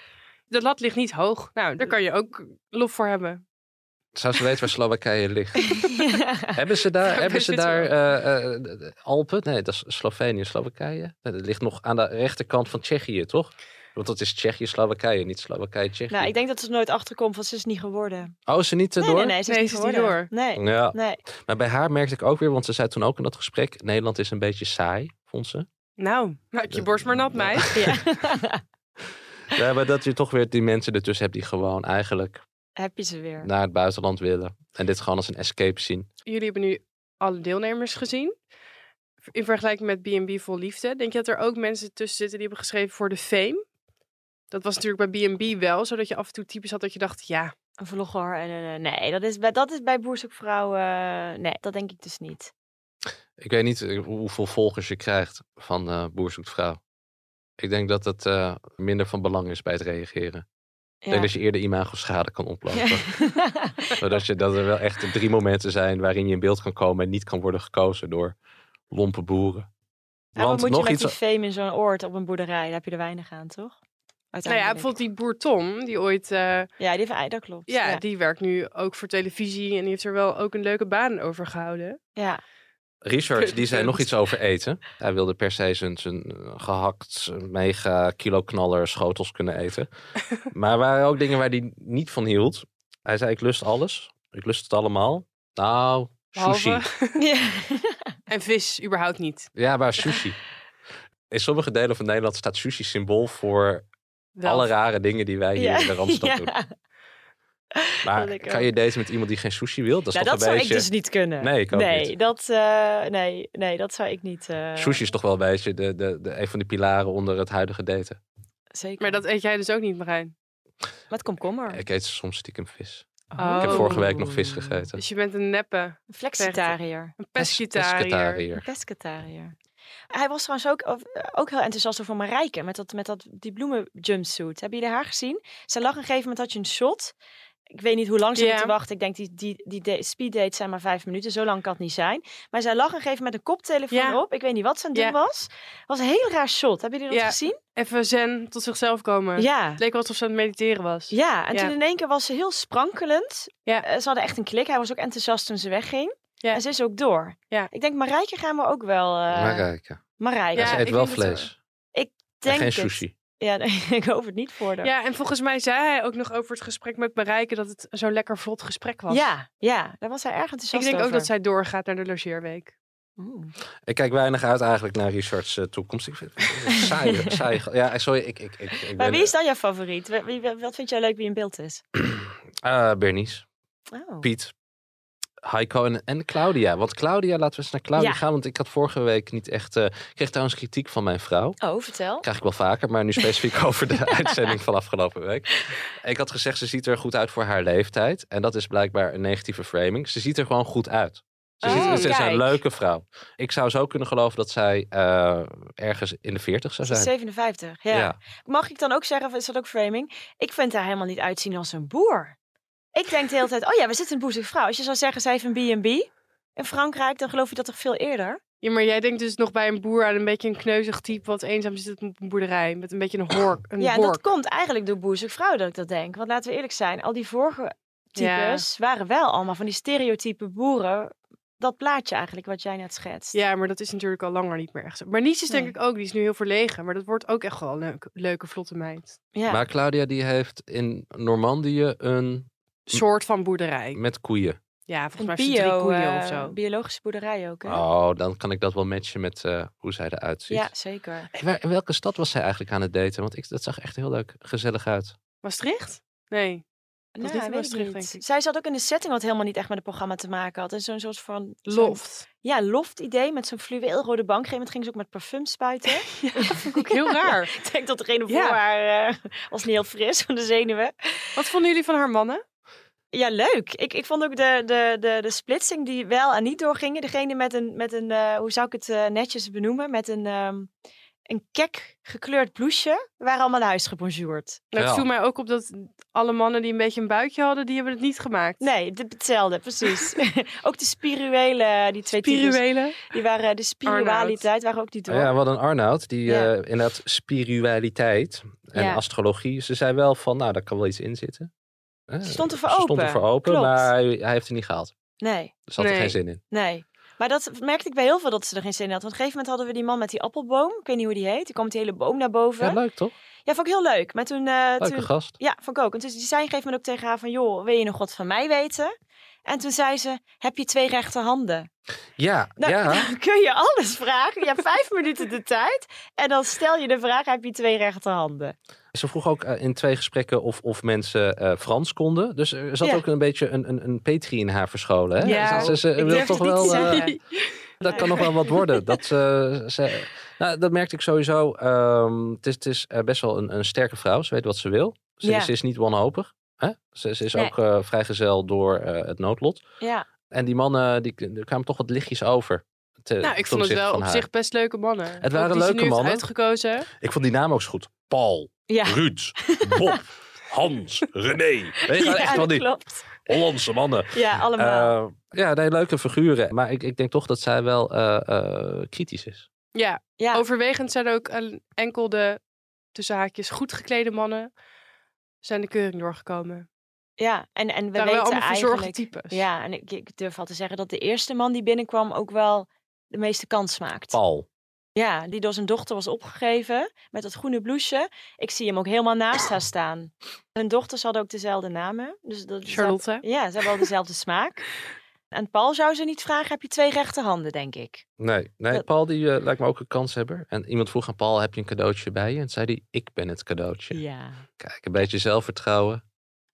De lat ligt niet hoog. Nou, daar kan je ook lof voor hebben. zou ze weten waar Slowakije ligt. hebben ze daar, Bij hebben ze daar Zwitserland. eh, eh, de- de Alpen? Nee, dat is Slovenië, Slowakije. Nee, dat ligt nog aan de rechterkant van Tsjechië, toch? Want dat is Tsjechië, Slowakije, niet Slowakije, Tsjechië. Nou, ik denk dat ze er nooit achterkomt, want ze is niet geworden. Oh, is ze niet Oh. Nee, erdoor? nee, nee, ze is, Nee, niet, ze is niet geworden. Nee, Ja. nee. Maar bij haar merkte ik ook weer, want ze zei toen ook in dat gesprek... Nederland is een beetje saai, vond ze. Nou, maak je borst maar nat, meid. Ja. Ja, maar dat je toch weer die mensen ertussen hebt die gewoon eigenlijk Heb je ze weer. naar het buitenland willen. En dit gewoon als een escape zien. Jullie hebben nu alle deelnemers gezien. In vergelijking met B&B Vol Liefde. Denk je dat er ook mensen tussen zitten die hebben geschreven voor de fame? Dat was natuurlijk bij B&B wel, zodat je af en toe types had dat je dacht, ja. Nou Een vlogger en een... eh, Nee, dat is bij, dat is bij boerzoekvrouw... eh, nee, dat denk ik dus niet. Ik weet niet eh, hoeveel volgers je krijgt van eh Boer zoekt vrouw. Ik denk dat het eh, minder van belang is bij het reageren. Ik Ja. denk dat je eerder imago-schade kan oplopen. Zodat je, dat er wel echt drie momenten zijn waarin je in beeld kan komen en niet kan worden gekozen door lompe boeren. Nou, wat Want moet je nog met iets. die fame in zo'n oord op een boerderij? Daar heb je er weinig aan, toch? Nou ja, Uiteindelijk. bijvoorbeeld die boer Tom, die ooit... eh, Ja, die heeft ei, dat klopt. ja, ja. die werkt nu ook voor televisie en die heeft er wel ook een leuke baan over gehouden. Ja. Richard, die zei Punt. nog iets over eten. Hij wilde per se zijn, zijn eh, gehakt, eh, mega kilo knaller schotels kunnen eten. Maar er waren ook dingen waar hij niet van hield. Hij zei, ik lust alles. Ik lust het allemaal. Nou, sushi. Behalve- Ja. En vis, überhaupt niet. Ja, maar sushi. In sommige delen van Nederland staat sushi symbool voor Wel. alle rare dingen die wij hier Ja. in de Randstad Ja. Nou, doen. dat Maar ik kan je daten met iemand die geen sushi wil? Dat is Nou, toch dat een zou ik beetje... dus niet kunnen. Nee, ik ook nee, niet. Dat, eh, nee, nee, dat zou ik niet... eh, Sushi is toch wel een beetje de, de, de, een van de pilaren onder het huidige daten. Zeker. Maar dat eet jij dus ook niet, Marijn. Met komkommer. Oh. Ik eet soms stiekem vis. Oh. Ik heb vorige week nog vis gegeten. Dus je bent een neppe, Een flexitariër. een Pes- pescetariër. pescetariër. Pescetariër. Hij was trouwens ook, of, eh, ook heel enthousiast over Marijke. Met, dat, met dat, die bloemen jumpsuit. Hebben jullie haar gezien? Ze lag een gegeven moment, had je een shot. Ik weet niet hoe lang ze Ja. moeten wachten. Ik denk, die, die, die da- speeddates zijn maar vijf minuten. Zo lang kan het niet zijn. Maar zij lag een gegeven moment met een koptelefoon Ja. op. Ik weet niet wat ze aan het doen Ja. was. was een heel raar shot. Hebben jullie dat Ja. gezien? Even zen tot zichzelf komen. Ja. Het leek wel alsof ze aan het mediteren was. Ja, en Ja. toen in één keer was ze heel sprankelend. Ja. Eh, Ze hadden echt een klik. Hij was ook enthousiast toen ze wegging. Ja. En ze is ook door. Ja. Ik denk, Marijke gaan we ook wel... eh Marijke. Marijke. Ja, ze ik eet wel denk dat- vlees. denk en geen het. sushi. Ja, nee, ik hoop het niet voor haar. Ja, en volgens mij zei hij ook nog over het gesprek met Marijke dat het zo'n lekker vlot gesprek was. ja, ja, daar was hij erg Ik enthousiast denk ook over. dat zij doorgaat naar de logeerweek. Oeh. Ik kijk weinig uit eigenlijk naar Richard's eh, toekomst. Ik vind het een saai. saai ge- ja, sorry, ik, ik, ik, ik Maar ben... wie is dan jouw favoriet? Wie- wie- wat vind jij leuk wie in beeld is? eh, Bernice, Oh. Piet, Heiko en, en Claudia. Want Claudia, laten we eens naar Claudia Ja. gaan. Want ik had vorige week niet echt... eh, ik kreeg trouwens kritiek van mijn vrouw. Oh, vertel. Krijg ik wel vaker, maar nu specifiek over de uitzending van afgelopen week. Ik had gezegd, ze ziet er goed uit voor haar leeftijd. En dat is blijkbaar een negatieve framing. Ze ziet er gewoon goed uit. Ze, Oh, ziet, ze is kijk. een leuke vrouw. Ik zou zo kunnen geloven dat zij eh, ergens in de 40 zou Ze is zijn. 57, ja. Mag ik dan ook zeggen, of is dat ook framing? Ik vind haar helemaal niet uitzien als een boer. Ik denk de hele tijd, oh ja, we zitten een boezige vrouw. Als je zou zeggen, zij heeft een B&B in Frankrijk, dan geloof je dat toch veel eerder? Ja, maar jij denkt dus nog bij een boer aan een beetje een kneuzig type wat eenzaam zit op een boerderij. Met een beetje een hork. Een ja, en dat hork. komt eigenlijk door boezige vrouw dat ik dat denk. Want laten we eerlijk zijn, al die vorige Ja. types waren wel allemaal van die stereotype boeren. Dat plaatje eigenlijk wat jij net schetst. Ja, maar dat is natuurlijk al langer niet meer echt zo. Maar Nies is denk Nee. ik ook, die is nu heel verlegen. Maar dat wordt ook echt wel een leuk- leuke, vlotte meid. Ja. Maar Claudia die heeft in Normandië een Soort van boerderij. met koeien. Ja, volgens Een mij heeft ze drie bio, koeien eh, of zo. biologische boerderij ook. Hè? Oh, dan kan ik dat wel matchen met eh, hoe zij eruit ziet. ja, zeker. Hey, waar- in welke stad was zij eigenlijk aan het daten? Want ik, dat zag echt heel leuk gezellig uit. Maastricht? Nee. Nou, ligt ja, er weet wel ik terug, niet. denk ik. Zij zat ook in een setting wat helemaal niet echt met het programma te maken had. En zo'n soort van... zo'n- Loft. ja, loft idee met zo'n fluweelrode bank. Op een gegeven moment ging ze ook met parfum spuiten. Vond ik ook heel raar. ik denk dat degene voor Ja. haar eh, was niet heel fris van de zenuwen. Wat vonden jullie van haar mannen? Ja, leuk. Ik, ik vond ook de, de, de, de splitsing die wel en niet doorgingen. Degene met een, met een eh, hoe zou ik het eh, netjes benoemen? Met een, ehm, een kek gekleurd blouseje. We waren allemaal naar huis gebonjourd. Nou, het Ja. viel mij ook op dat alle mannen die een beetje een buikje hadden, die hebben het niet gemaakt. Nee, de- hetzelfde, precies. ook de spirituele, die twee types, Spirituele. die waren eh, de spiritualiteit, waren ook niet door. Oh Ah Ja, wat een Arnoud, die Ja. eh, inderdaad spiritualiteit en Ja. astrologie. Ze zei wel van, nou, daar kan wel iets in zitten. Eh, Ze stond er voor ze Stond open, er voor open, klopt. maar hij, hij heeft er niet gehaald. Nee, Dus had er Nee. geen zin in. nee. Maar dat merkte ik bij heel veel dat ze er geen zin in had. Want op een gegeven moment hadden we die man met die appelboom. Ik weet niet hoe die heet. Die kwam die hele boom naar boven. Ja, Ja, leuk toch? vond ik heel leuk. Maar toen... eh, Leuke toen gast. ja, vond ik ook. En toen die zei op een gegeven moment ook tegen haar van... joh, wil je nog wat van mij weten? En toen zei ze, heb je twee rechterhanden? Ja, Nou, ja. dan kun je alles vragen. Je hebt vijf minuten de tijd. En dan stel je de vraag, heb je twee rechterhanden? Ze vroeg ook eh, in twee gesprekken of, of mensen eh, Frans konden. Dus er zat Ja. ook een beetje een, een, een Petri in haar verscholen. Hè? Ja, ze, ze- ze ik wil durf toch het niet wel. te eh, zeggen. dat kan nog wel wat worden. Dat, eh, ze, nou, dat merkte ik sowieso. Ehm, het is, het is eh, best wel een, een sterke vrouw. Ze weet wat ze wil. Ze, Ja. ze is niet wanhopig. Hè? Ze, ze is Nee. ook eh, vrijgezel door eh, het noodlot. Ja, En die mannen die, die kwamen toch wat lichtjes over. te- Nou, ik ten vond het opzichte wel van op haar. zich best leuke mannen. Ook waren die ze leuke nu heeft mannen. uitgekozen. Ik vond die naam ook zo goed. Paul, ja. Ruud, Bob, Hans, René. Weet je, Ja, echt wel dat die klopt. Hollandse mannen. Ja, allemaal. Eh, ja, nee, leuke figuren. Maar ik, ik denk toch dat zij wel eh, eh, kritisch is. Ja, ja. overwegend zijn ook eh, enkel de tussen haakjes goed geklede mannen zijn de keuring doorgekomen. Ja, en, en we Daar weten wel allemaal verzorgde eigenlijk... types. Ja, en ik, ik durf al te zeggen dat de eerste man die binnenkwam ook wel de meeste kans maakt. Paul. Ja, die door zijn dochter was opgegeven met dat groene blouseje. Ik zie hem ook helemaal naast haar staan. Hun dochters hadden ook dezelfde namen. Dus dat, Charlotte. ze- ja, ze hebben al dezelfde smaak. En Paul zou ze niet vragen, heb je twee rechterhanden, denk ik. Nee, nee Dat- Paul die eh, lijkt me ook een kanshebber. En iemand vroeg aan Paul, heb je een cadeautje bij je? En zei hij, ik ben het cadeautje. Ja. Kijk, een beetje zelfvertrouwen.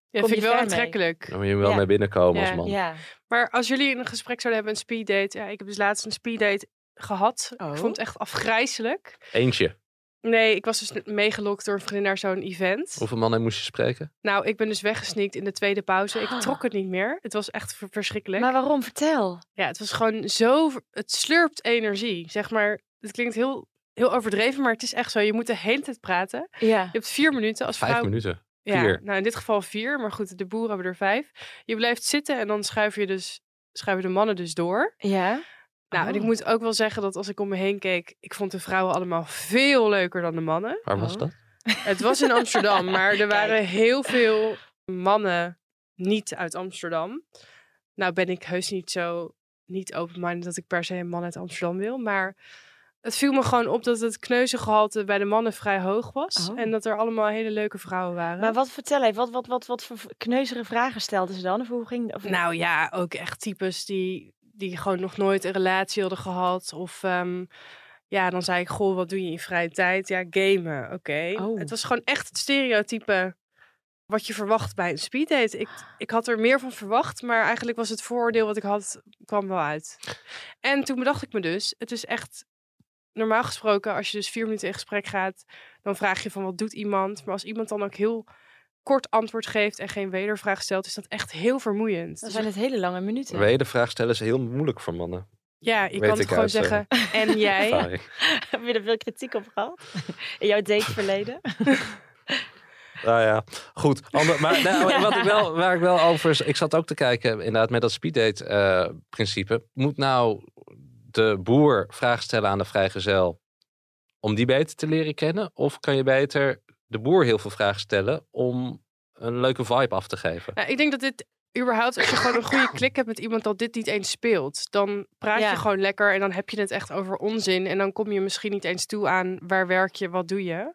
Ja, Kom vind ik je wel ver mee? aantrekkelijk. Dan moet je wel Ja. mee binnenkomen Ja. als man. Ja. Maar als jullie een gesprek zouden hebben, een speeddate. Ja, ik heb dus laatst een speeddate gehad. Oh. Ik vond het echt afgrijzelijk. Eentje. Nee, ik was dus meegelokt door een vriendin naar zo'n event. Hoeveel mannen moest je spreken? Nou, ik ben dus weggesneakt in de tweede pauze. Ik trok het niet meer. Het was echt ver- verschrikkelijk. Maar waarom? Vertel. Ja, het was gewoon zo... ver- Het slurpt energie, zeg maar. het klinkt heel, heel overdreven, maar het is echt zo. Je moet de hele tijd praten. Ja. Je hebt vier minuten als Vijf vrouw. minuten. Ja, Vier. nou in dit geval vier, maar goed, de boeren hebben er vijf. Je blijft zitten en dan schuiven je dus, schuiven de mannen dus door. Ja. Nou, en ik moet ook wel zeggen dat als ik om me heen keek, ik vond de vrouwen allemaal veel leuker dan de mannen. Waar was Oh. dat? Het was in Amsterdam, maar er waren heel veel mannen niet uit Amsterdam. Nou ben ik heus niet zo niet open-minded dat ik per se een man uit Amsterdam wil, maar het viel me gewoon op dat het kneuzengehalte bij de mannen vrij hoog was Oh. en dat er allemaal hele leuke vrouwen waren. Maar wat vertel even, wat, wat, wat, wat voor kneuzere vragen stelden ze dan? Of hoe ging of... Nou ja, ook echt types die, die gewoon nog nooit een relatie hadden gehad. Of ehm, ja, dan zei ik, goh, wat doe je in je vrije tijd? Ja, gamen, oké. Oh. Het was gewoon echt het stereotype wat je verwacht bij een speeddate. Ik, ik had er meer van verwacht, maar eigenlijk was het vooroordeel wat ik had, kwam wel uit. En toen bedacht ik me dus, het is echt... Normaal gesproken, als je dus vier minuten in gesprek gaat, dan vraag je van wat doet iemand. Maar als iemand dan ook heel kort antwoord geeft en geen wedervraag stelt, is dat echt heel vermoeiend. dat Dus zijn het hele lange minuten. Wedervraag stellen is heel moeilijk voor mannen. ja, je Weet kan het ik gewoon uit, eh, zeggen. En jij? ervaring. Heb je er veel kritiek op gehad? In jouw dateverleden? Nou ja, goed. Ander, maar nou, wat ik wel, waar ik wel over is, ik zat ook te kijken, inderdaad, met dat speeddate eh, principe. Moet nou de boer vragen stellen aan de vrijgezel om die beter te leren kennen? Of kan je beter de boer heel veel vragen stellen om een leuke vibe af te geven? Nou, ik denk dat dit überhaupt, als je gewoon een goede klik hebt met iemand, dat dit niet eens speelt. Dan praat Ja. je gewoon lekker en dan heb je het echt over onzin. En dan kom je misschien niet eens toe aan waar werk je, wat doe je.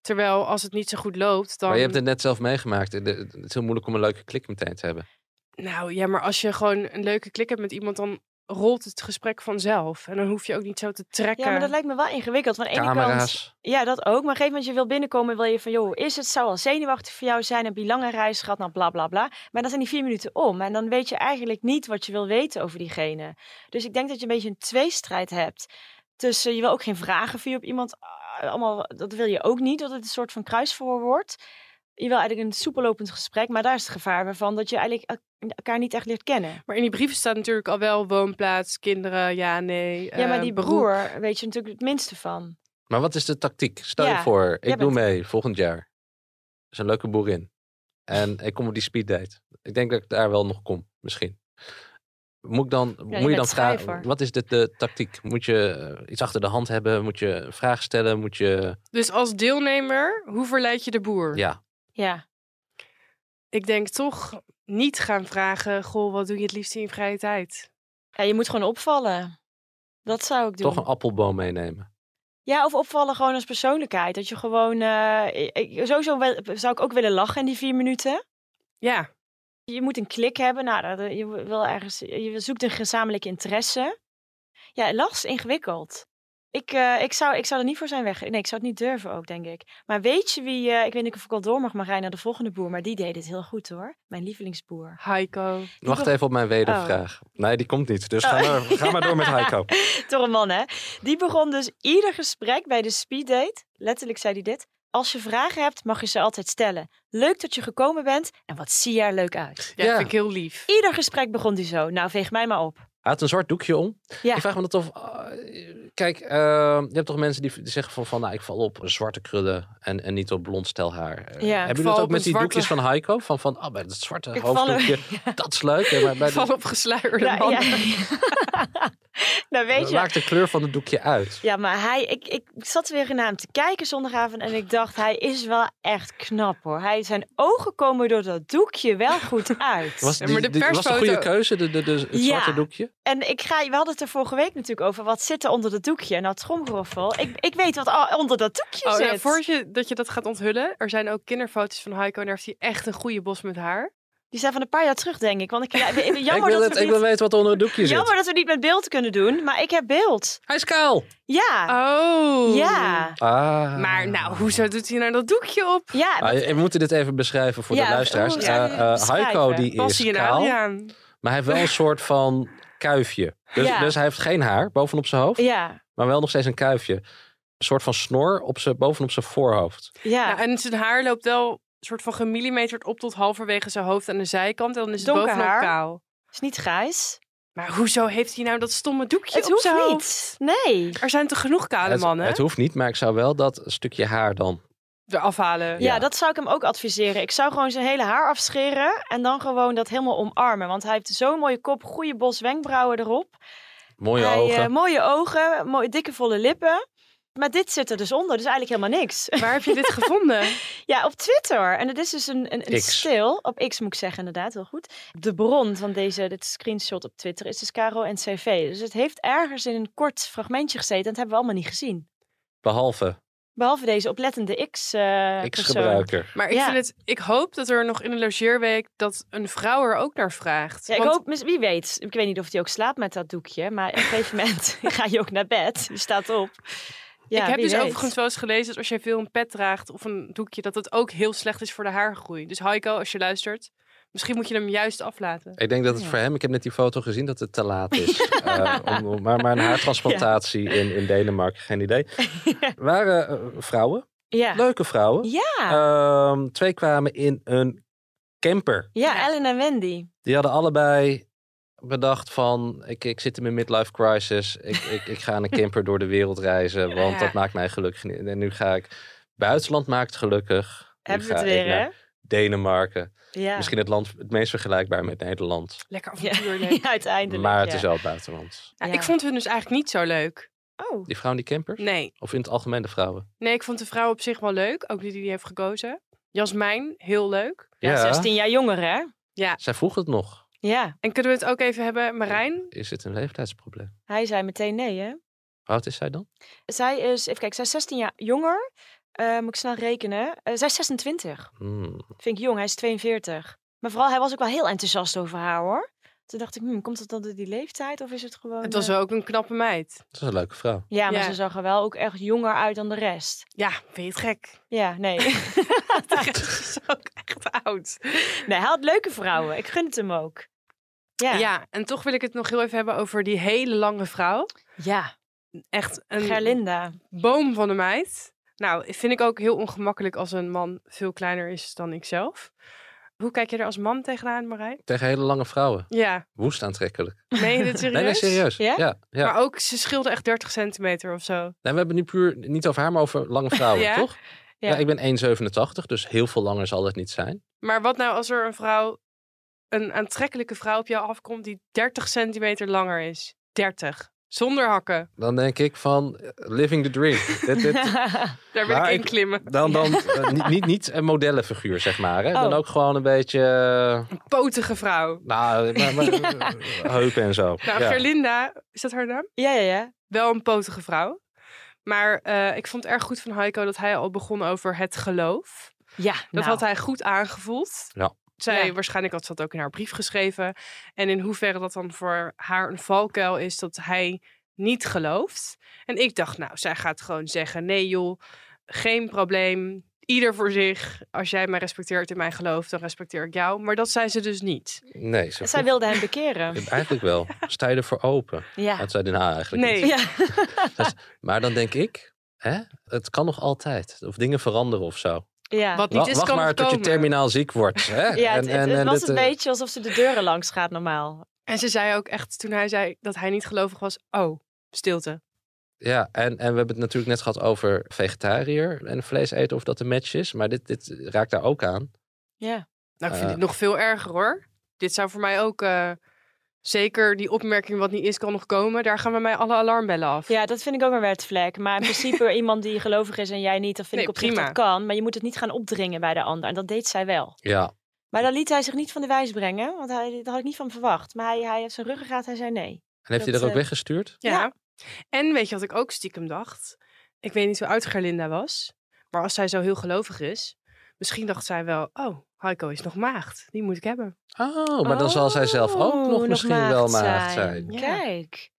Terwijl als het niet zo goed loopt, dan... Maar je hebt het net zelf meegemaakt. Het het is heel moeilijk om een leuke klik meteen te hebben. Nou ja, maar als je gewoon een leuke klik hebt met iemand, dan rolt het gesprek vanzelf. En dan hoef je ook niet zo te trekken. Ja, maar dat lijkt me wel ingewikkeld. Want aan de ene kant Camera's. Ja, dat ook. Maar op een gegeven moment je wil binnenkomen, wil je van, joh, hoe is het, zou al zenuwachtig voor jou zijn, heb je lange reis gehad, nou bla bla bla. Maar dan zijn die vier minuten om en dan weet je eigenlijk niet wat je wil weten over diegene. Dus ik denk dat je een beetje een tweestrijd hebt. Tussen, je wil ook geen vragen via op iemand, ah, allemaal, dat wil je ook niet, dat het een soort van kruisverhoor wordt. Je wil eigenlijk een soepelopend gesprek, maar daar is het gevaar weer van dat je eigenlijk el- elkaar niet echt leert kennen. Maar in die brieven staat natuurlijk al wel woonplaats, kinderen, ja, nee. ja, eh, maar die beroep. broer weet je natuurlijk het minste van. Maar wat is de tactiek? Stel je Ja, voor, jij ik doe bent- mee volgend jaar. Er is een leuke boerin. En ik kom op die speeddate. Ik denk dat ik daar wel nog kom, misschien. Moet, ik dan, moet je bent dan vragen, schrijver. wat is dit de tactiek? Moet je eh, iets achter de hand hebben? Moet je een vraag stellen? Moet je, Dus als deelnemer, hoe verleid je de boer? ja. Ja, Ik denk toch niet gaan vragen, goh, wat doe je het liefst in je vrije tijd? ja je moet gewoon opvallen. Dat zou ik doen. Toch een appelboom meenemen. Ja, of opvallen gewoon als persoonlijkheid. Dat je gewoon... eh, ik- ik- sowieso wel- zou ik ook willen lachen in die vier minuten. Ja, Je moet een klik hebben. Nou, dat- je, wil ergens, je zoekt een gezamenlijke interesse. Ja, lach is ingewikkeld. Ik, eh, ik, zou, ik zou er niet voor zijn weg. Nee, ik zou het niet durven ook, denk ik. Maar weet je wie... eh, ik weet niet of ik al door mag, Marijn, naar de volgende boer. Maar die deed het heel goed, hoor. Mijn lievelingsboer. Heiko. Wacht be- even op mijn wedervraag. Nee, die komt niet. Oh. Dus ga, maar, ga maar door met Heiko. Toch een man, hè? Die begon dus ieder gesprek bij de speeddate. Letterlijk zei hij dit. Als je vragen hebt, mag je ze altijd stellen. Leuk dat je gekomen bent en wat zie je er leuk uit. Ja, Ja. vind ik heel lief. Ieder gesprek begon hij zo. Nou, veeg mij maar op. Hij had een zwart doekje om. Ja. Ik vraag me dat of... ah, kijk, eh, je hebt toch mensen die, die zeggen van, van... Nou, ik val op zwarte krullen en, en niet op blond stel haar. Eh, Ja. Ik val hebben jullie dat op ook met een die zwarte- doekjes van Heiko? Van, van ah, bij dat zwarte Ik val hoofddoekje, dat is leuk. hè, Maar bij de- Van opgesluierde Nou, mannen. nou, weet je. maakt de kleur van het doekje uit. Ja, maar hij, ik, ik zat weer naar hem te kijken zondagavond en ik dacht, hij is wel echt knap hoor. Hij, zijn ogen komen door dat doekje wel goed uit. Was, Ja, die, maar de die- was de goede persfoto- keuze, de, de, de, het Ja. zwarte doekje? En ik ga, we hadden het er vorige week natuurlijk over, wat zit er onder dat doekje? Nou, tromgeroffel, ik, ik weet wat al onder dat doekje Oh zit. ja, voor je, dat je dat gaat onthullen, er zijn ook kinderfoto's van Heiko en daar heeft hij echt een goede bos met haar. Die zijn van een paar jaar terug, denk ik. Want ik, ja, jammer, ik wil, dat het, we ik wil niet, weten wat er onder het doekje zit. jammer dat we niet met beeld kunnen doen, maar ik heb beeld. Hij is kaal. Ja, Oh. ja, Ah. Maar nou, hoezo doet hij nou dat doekje op? ja. Ah, dat- je- we moeten dit even beschrijven voor Ja, de hoe luisteraars. zou je Eh, dit eh, beschrijven? nou, Heiko die Was is hij nou een kaal. Adriaan? Maar hij heeft wel een soort van kuifje. Dus, Ja. dus hij heeft geen haar bovenop zijn hoofd, ja, maar wel nog steeds een kuifje. Een soort van snor op zijn, bovenop zijn voorhoofd. ja. Nou, en zijn haar loopt wel soort van gemillimeterd op tot halverwege zijn hoofd aan de zijkant. En dan is het Donker bovenop haar. kaal. is niet grijs. Maar hoezo heeft hij nou dat stomme doekje Het op hoeft zijn hoofd? niet. Nee. Er zijn toch genoeg kale het, mannen het hoeft niet, maar ik zou wel dat stukje haar dan. eraf halen. Ja. Ja, dat zou ik hem ook adviseren. Ik zou gewoon zijn hele haar afscheren en dan gewoon dat helemaal omarmen. Want hij heeft zo'n mooie kop, goede bos wenkbrauwen erop. Mooie Hij, eh, ogen. mooie ogen, mooie dikke volle lippen. Maar dit zit er dus onder, dus eigenlijk helemaal niks. Waar heb je dit gevonden? Ja, op Twitter. En het is dus een, een, een X. stil, op X moet ik zeggen inderdaad, heel goed. De bron van deze dit screenshot op Twitter is dus Caro en CV. Dus het heeft ergens in een kort fragmentje gezeten en dat hebben we allemaal niet gezien. Behalve Behalve deze oplettende eh, X-persoon. X-gebruiker. Maar ik, Ja. vind het, ik hoop dat er nog in de logeerweek dat een vrouw er ook naar vraagt. Ja, ik Want hoop, mis- wie weet, ik weet niet of hij ook slaapt met dat doekje, maar op een gegeven moment ga je ook naar bed. Je staat op. Ja, ik heb wie dus weet. overigens wel eens gelezen dat als je veel een pet draagt of een doekje, dat dat ook heel slecht is voor de haargroei. Dus Heiko, als je luistert, misschien moet je hem juist aflaten. Ik denk dat het voor hem, ik heb net die foto gezien, dat het te laat is. Eh, om- om- maar, maar een haartransplantatie in, in Denemarken, geen idee. Waren eh, vrouwen, Ja, leuke vrouwen. ja. Ehm, twee kwamen in een camper. ja, Ellen en Wendy. Die hadden allebei bedacht van, ik, ik zit in mijn midlife crisis. Ik, ik, ik ga in een camper door de wereld reizen, want Ja. dat maakt mij gelukkig. niet. En nu ga ik, buitenland maakt gelukkig. Nu Hebben we het ga weer, ik naar hè? Denemarken. Ja. Misschien het land het meest vergelijkbaar met Nederland. Lekker Ja. avontuur. Ja, leuk. uiteindelijk. Maar het ja. is wel het buitenland. Ja, Ja. Ik vond hun dus eigenlijk niet zo leuk. Oh, Die vrouwen die campers? Nee. Of in het algemeen de vrouwen? nee, ik vond de vrouw op zich wel leuk. Ook die die heeft gekozen. Jasmijn, heel leuk. ja, 16 jaar jonger, hè? Zij vroeg het nog. Ja, En kunnen we het ook even hebben, Marijn? Is het een leeftijdsprobleem? hij zei meteen nee, hè? Hoe oud is zij dan? Zij is, even kijken, zij is 16 jaar jonger. Eh, moet ik snel rekenen. Eh, zij is 26. Hmm. Vind ik jong, hij is 42. Maar vooral, hij was ook wel heel enthousiast over haar, hoor. Toen dacht ik, hmm, komt dat dan door die leeftijd of is het gewoon... Het was eh, wel ook een knappe meid. Dat is een leuke vrouw. Ja, maar Ja. ze zag er wel ook echt jonger uit dan de rest. Ja, vind je het gek? Ja, nee. De rest is ook echt oud. nee, hij had leuke vrouwen. Ik gun het hem ook. Ja. Ja. en toch wil ik het nog heel even hebben over die hele lange vrouw. ja. Echt een Gerlinda. boom van de meid. Nou, vind ik ook heel ongemakkelijk als een man veel kleiner is dan ikzelf. Hoe kijk je er als man tegenaan, Marijn? Tegen hele lange vrouwen. Ja, Woest aantrekkelijk. meen je dit serieus? Nee, nee, serieus. Ja? Ja, ja. Maar ook, ze scheelde echt 30 centimeter of zo. Nee, Nou, we hebben nu puur niet over haar, maar over lange vrouwen, Ja? toch? Ja. Ja. ik ben 1,87, dus heel veel langer zal het niet zijn. Maar wat nou als er een vrouw, een aantrekkelijke vrouw op jou afkomt die 30 centimeter langer is? 30. Zonder hakken. Dan denk ik van eh, living the dream. dit, dit, Daar wil Maar ik in ik- klimmen. dan dan eh, niet, niet, niet een modellenfiguur, zeg maar. Hè? Dan Oh. ook gewoon een beetje... eh, Een potige vrouw. Nou, maar, maar, eh, heupen en zo. Nou, Ja. Gerlinda, is dat haar naam? ja, ja, ja. Wel een potige vrouw. Maar eh, ik vond het erg goed van Heiko dat hij al begon over het geloof. Ja, Dat nou. had hij goed aangevoeld. Ja. Zij, Ja. waarschijnlijk had ze dat ook in haar brief geschreven. En in hoeverre dat dan voor haar een valkuil is dat hij niet gelooft. En ik dacht, nou, zij gaat gewoon zeggen: nee, joh, geen probleem. Ieder voor zich. Als jij mij respecteert in mijn geloof, dan respecteer ik jou. Maar dat zei ze dus niet. Nee, ze Zij wilde hem bekeren. vroeg- Eigenlijk wel. Sta je ervoor open? Ja. Dat zei hij nou eigenlijk Nee. niet. Ja. Maar dan denk ik, hè, het kan nog altijd. Of dingen veranderen of zo. ja. Wat Wa- niet is, wacht kan maar nog tot je komen. terminaal ziek wordt. Hè? Ja, het, En- het- en- het en was dit, een eh, beetje alsof ze de deuren langs gaat normaal. En ze zei ook echt, toen hij zei dat hij niet gelovig was, oh, stilte. Ja, en, en we hebben het natuurlijk net gehad over vegetariër en vlees eten, of dat een match is. Maar dit, dit raakt daar ook aan. Ja. Nou, ik vind Eh. dit nog veel erger hoor. Dit zou voor mij ook eh, zeker die opmerking wat niet is kan nog komen. Daar gaan bij mij alle alarmbellen af. ja, dat vind ik ook een red flag. Maar in principe iemand die gelovig is en jij niet, dat vind Nee, ik op zich prima. dat kan. Maar je moet het niet gaan opdringen bij de ander. En dat deed zij wel. Ja, Maar dan liet hij zich niet van de wijs brengen, want hij, dat had ik niet van verwacht. Maar hij, hij heeft zijn ruggengraat, hij zei nee. en heeft hij Dat, er ook eh, weggestuurd? Ja. Ja. En weet je wat ik ook stiekem dacht? Ik weet niet hoe oud Gerlinda was. Maar als zij zo heel gelovig is, misschien dacht zij wel, oh, Heiko is nog maagd. Die moet ik hebben. Oh, maar dan zal zij zelf ook nog, Oh, misschien wel maagd zijn. Ja. Kijk.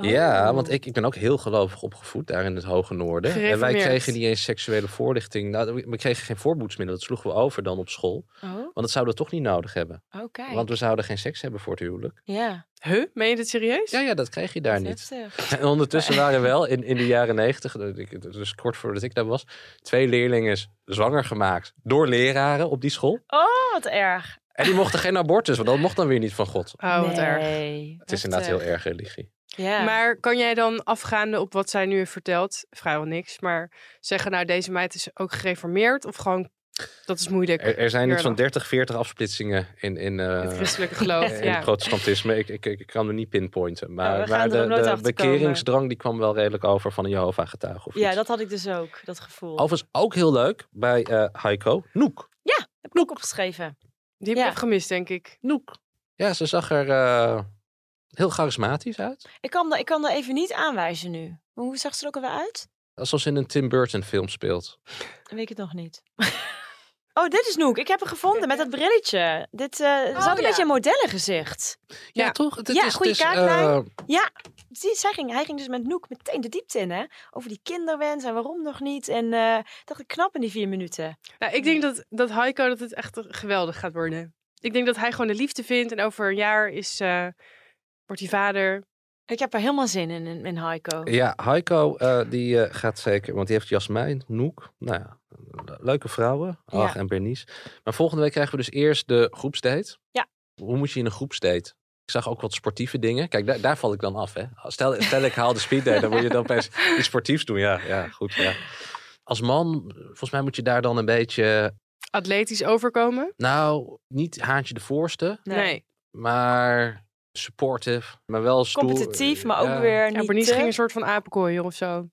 Oh. Ja, want ik, ik ben ook heel gelovig opgevoed daar in het hoge noorden. En wij Gereformeerd. kregen niet eens seksuele voorlichting. Nou, we- we kregen geen voorboedsmiddelen. Dat sloegen we over dan op school. Oh, Want dat zouden we toch niet nodig hebben. oh, kijk. Want we zouden geen seks hebben voor het huwelijk. Ja, Huh? Meen je dit serieus? Ja, ja dat kreeg je daar niet. heftig. En ondertussen waren wel in, in de jaren negentig, dus kort voordat ik daar was, twee leerlingen zwanger gemaakt door leraren op die school. Oh, wat erg. En die mochten geen abortus, want dat mocht dan weer niet van God. Oh, wat erg. Nee. Het is eh, inderdaad heel erg religie. Ja. Maar kan jij dan afgaande op wat zij nu heeft verteld, vrijwel niks, maar zeggen nou deze meid is ook gereformeerd of gewoon dat is moeilijk. Er, er zijn iets van Eerlijk. 30, 40 afsplitsingen in, in, eh, het christelijke geloof. in ja. het protestantisme. Ik, ik, ik kan er niet pinpointen. Ja, Maar, we gaan maar er de, nog nooit de achter komen. bekeringsdrang die kwam wel redelijk over van een Jehovah-getuige. of ja, iets. dat had ik dus ook, dat gevoel. Overigens ook heel leuk bij eh, Heiko. Noek. Heb ik ook opgeschreven. Die heb ik Ja. even gemist, denk ik. Noek. Ja, ze zag er eh, heel charismatisch uit. Ik kan, dat- ik kan dat even niet aanwijzen nu. Maar Hoe zag ze er ook alweer uit? Alsof ze in een Tim Burton film speelt. Weet ik het nog niet. oh, dit is Noek. Ik heb hem gevonden met dat brilletje. Dit, eh ze had een ja. beetje een modellengezicht. Ja, Ja. toch? Het, het Ja, is, goede het is, kaaklijn. eh, Zie, zij ging, hij ging dus met Noek meteen de diepte in, hè? Over die kinderwens en waarom nog niet. En eh, dacht ik, knap in die vier minuten. Nou, ik denk dat, dat Heiko dat het echt geweldig gaat worden. Ik denk dat hij gewoon de liefde vindt en over een jaar is, eh, wordt hij vader. Ik heb er helemaal zin in, in, in Heiko. Ja, Heiko eh, die eh, gaat zeker, want die heeft Jasmijn, Noek, nou ja, le- leuke vrouwen, Ach Ja. en Bernice. Maar volgende week krijgen we dus eerst de groepsdate. Ja. Hoe moet je in een groepsdate? Ik zag ook wat sportieve dingen. Kijk, daar, daar val ik dan af, hè. Stel, stel ik haal de speeddate, dan moet je dan opeens iets sportiefs doen. Ja, ja, goed, ja. Als man, volgens mij moet je daar dan een beetje, Atletisch overkomen? nou, niet haantje de voorste, Nee. maar supportive, maar wel stoer. eh, Competitief, maar ook Ja. weer Ja, niet. Bernice te- ging een soort van apenkooi of zo.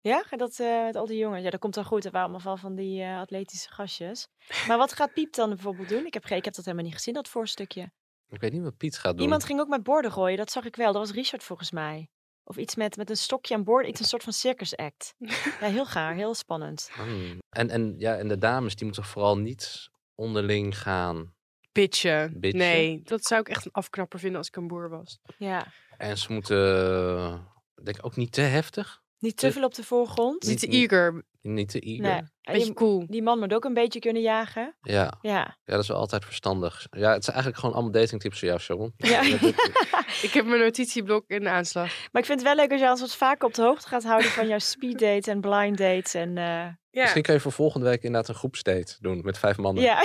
Ja, gaat dat eh, met al die jongens. Ja, dat komt dan goed. Er waren allemaal van- van die eh, atletische gastjes. Maar wat gaat Piep dan bijvoorbeeld doen? Ik heb, geen- ik heb dat helemaal niet gezien, dat voorstukje. Ik weet niet wat Piet gaat doen. Iemand ging ook met borden gooien, dat zag ik wel. Dat was Richard volgens mij. Of iets met, met een stokje aan boord, iets een soort van circus act. Ja, heel gaar, heel spannend. Hmm. En, en, ja, en de dames, die moeten vooral niet onderling gaan. Bitchen. Bitchen? Nee, dat zou ik echt een afknapper vinden als ik een boer was. Ja. En ze moeten, eh, ik denk ook niet te heftig. Niet te Dus- veel op de voorgrond. Dus niet te niet- eager, Niet te eager. Nee. En beetje Die, cool. die man moet ook een beetje kunnen jagen. Ja, Ja. ja, dat is wel altijd verstandig. Ja, het zijn eigenlijk gewoon allemaal datingtips voor jou, Sharon. Ja. Dat- dat- Ik heb mijn notitieblok in de aanslag. Maar ik vind het wel leuk als je ons wat vaker op de hoogte gaat houden van jouw speeddate en blind dates. En, eh, Ja, Misschien kun je voor volgende week inderdaad een groepsdate doen met vijf mannen. ja.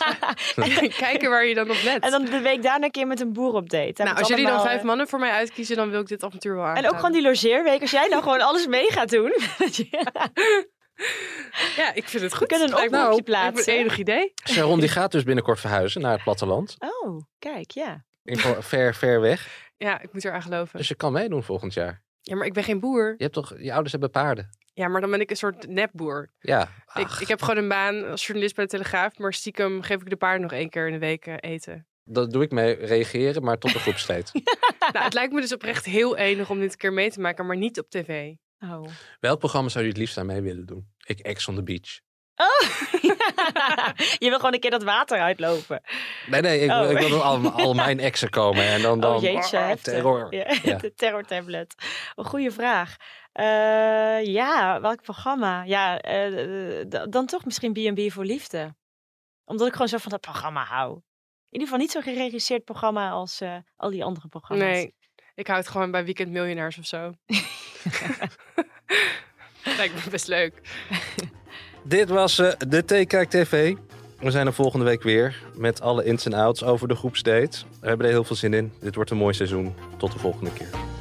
kijken waar je dan op let. en dan de week daarna een keer met een boer op date. nou, als jullie dan vijf mannen voor mij uitkiezen, dan wil ik dit avontuur wel aan. eh, En ook gewoon die logeerweek, als jij dan gewoon alles mee gaat doen. Ja, ik vind het goed. We kunnen een Lijkt me oproepje ook- lijkt me plaatsen. Een enig idee. Sharon die gaat dus binnenkort verhuizen naar het platteland. oh, kijk, ja. In, voor- ver, ver weg. Ja, ik moet eraan geloven. Dus je kan meedoen volgend jaar. Ja, maar ik ben geen boer. Je hebt toch, je ouders hebben paarden. Ja, maar dan ben ik een soort nepboer. Ja. Ik, Ach, ik heb gewoon een baan als journalist bij de Telegraaf, maar stiekem geef ik de paarden nog één keer in de week eh, eten. Dat doe ik mee, reageren, maar tot de groepsdate. nou, het lijkt me dus oprecht heel enig om dit een keer mee te maken, maar niet op tv. Oh. Welk programma zou je het liefst aan mee willen doen? Ik Ex on the Beach. je wil gewoon een keer dat water uitlopen. Nee, nee, ik, Oh. ik wil door al, al mijn exen komen en dan... dan oh jeetje, Ah, heftig. terror. Ja, Ja. de terrortablet. Een goede vraag. Eh, ja, welk programma? Ja, eh, eh, d- dan toch misschien B&B voor Liefde. Omdat ik gewoon zo van dat programma hou. In ieder geval niet zo'n geregisseerd programma als eh, al die andere programma's. Nee, ik hou het gewoon bij Weekend Miljonairs of zo. lijkt me best leuk. Dit was eh, de TKK TV. We zijn er volgende week weer met alle ins en outs over de groepsdate. We hebben er heel veel zin in. Dit wordt een mooi seizoen. Tot de volgende keer.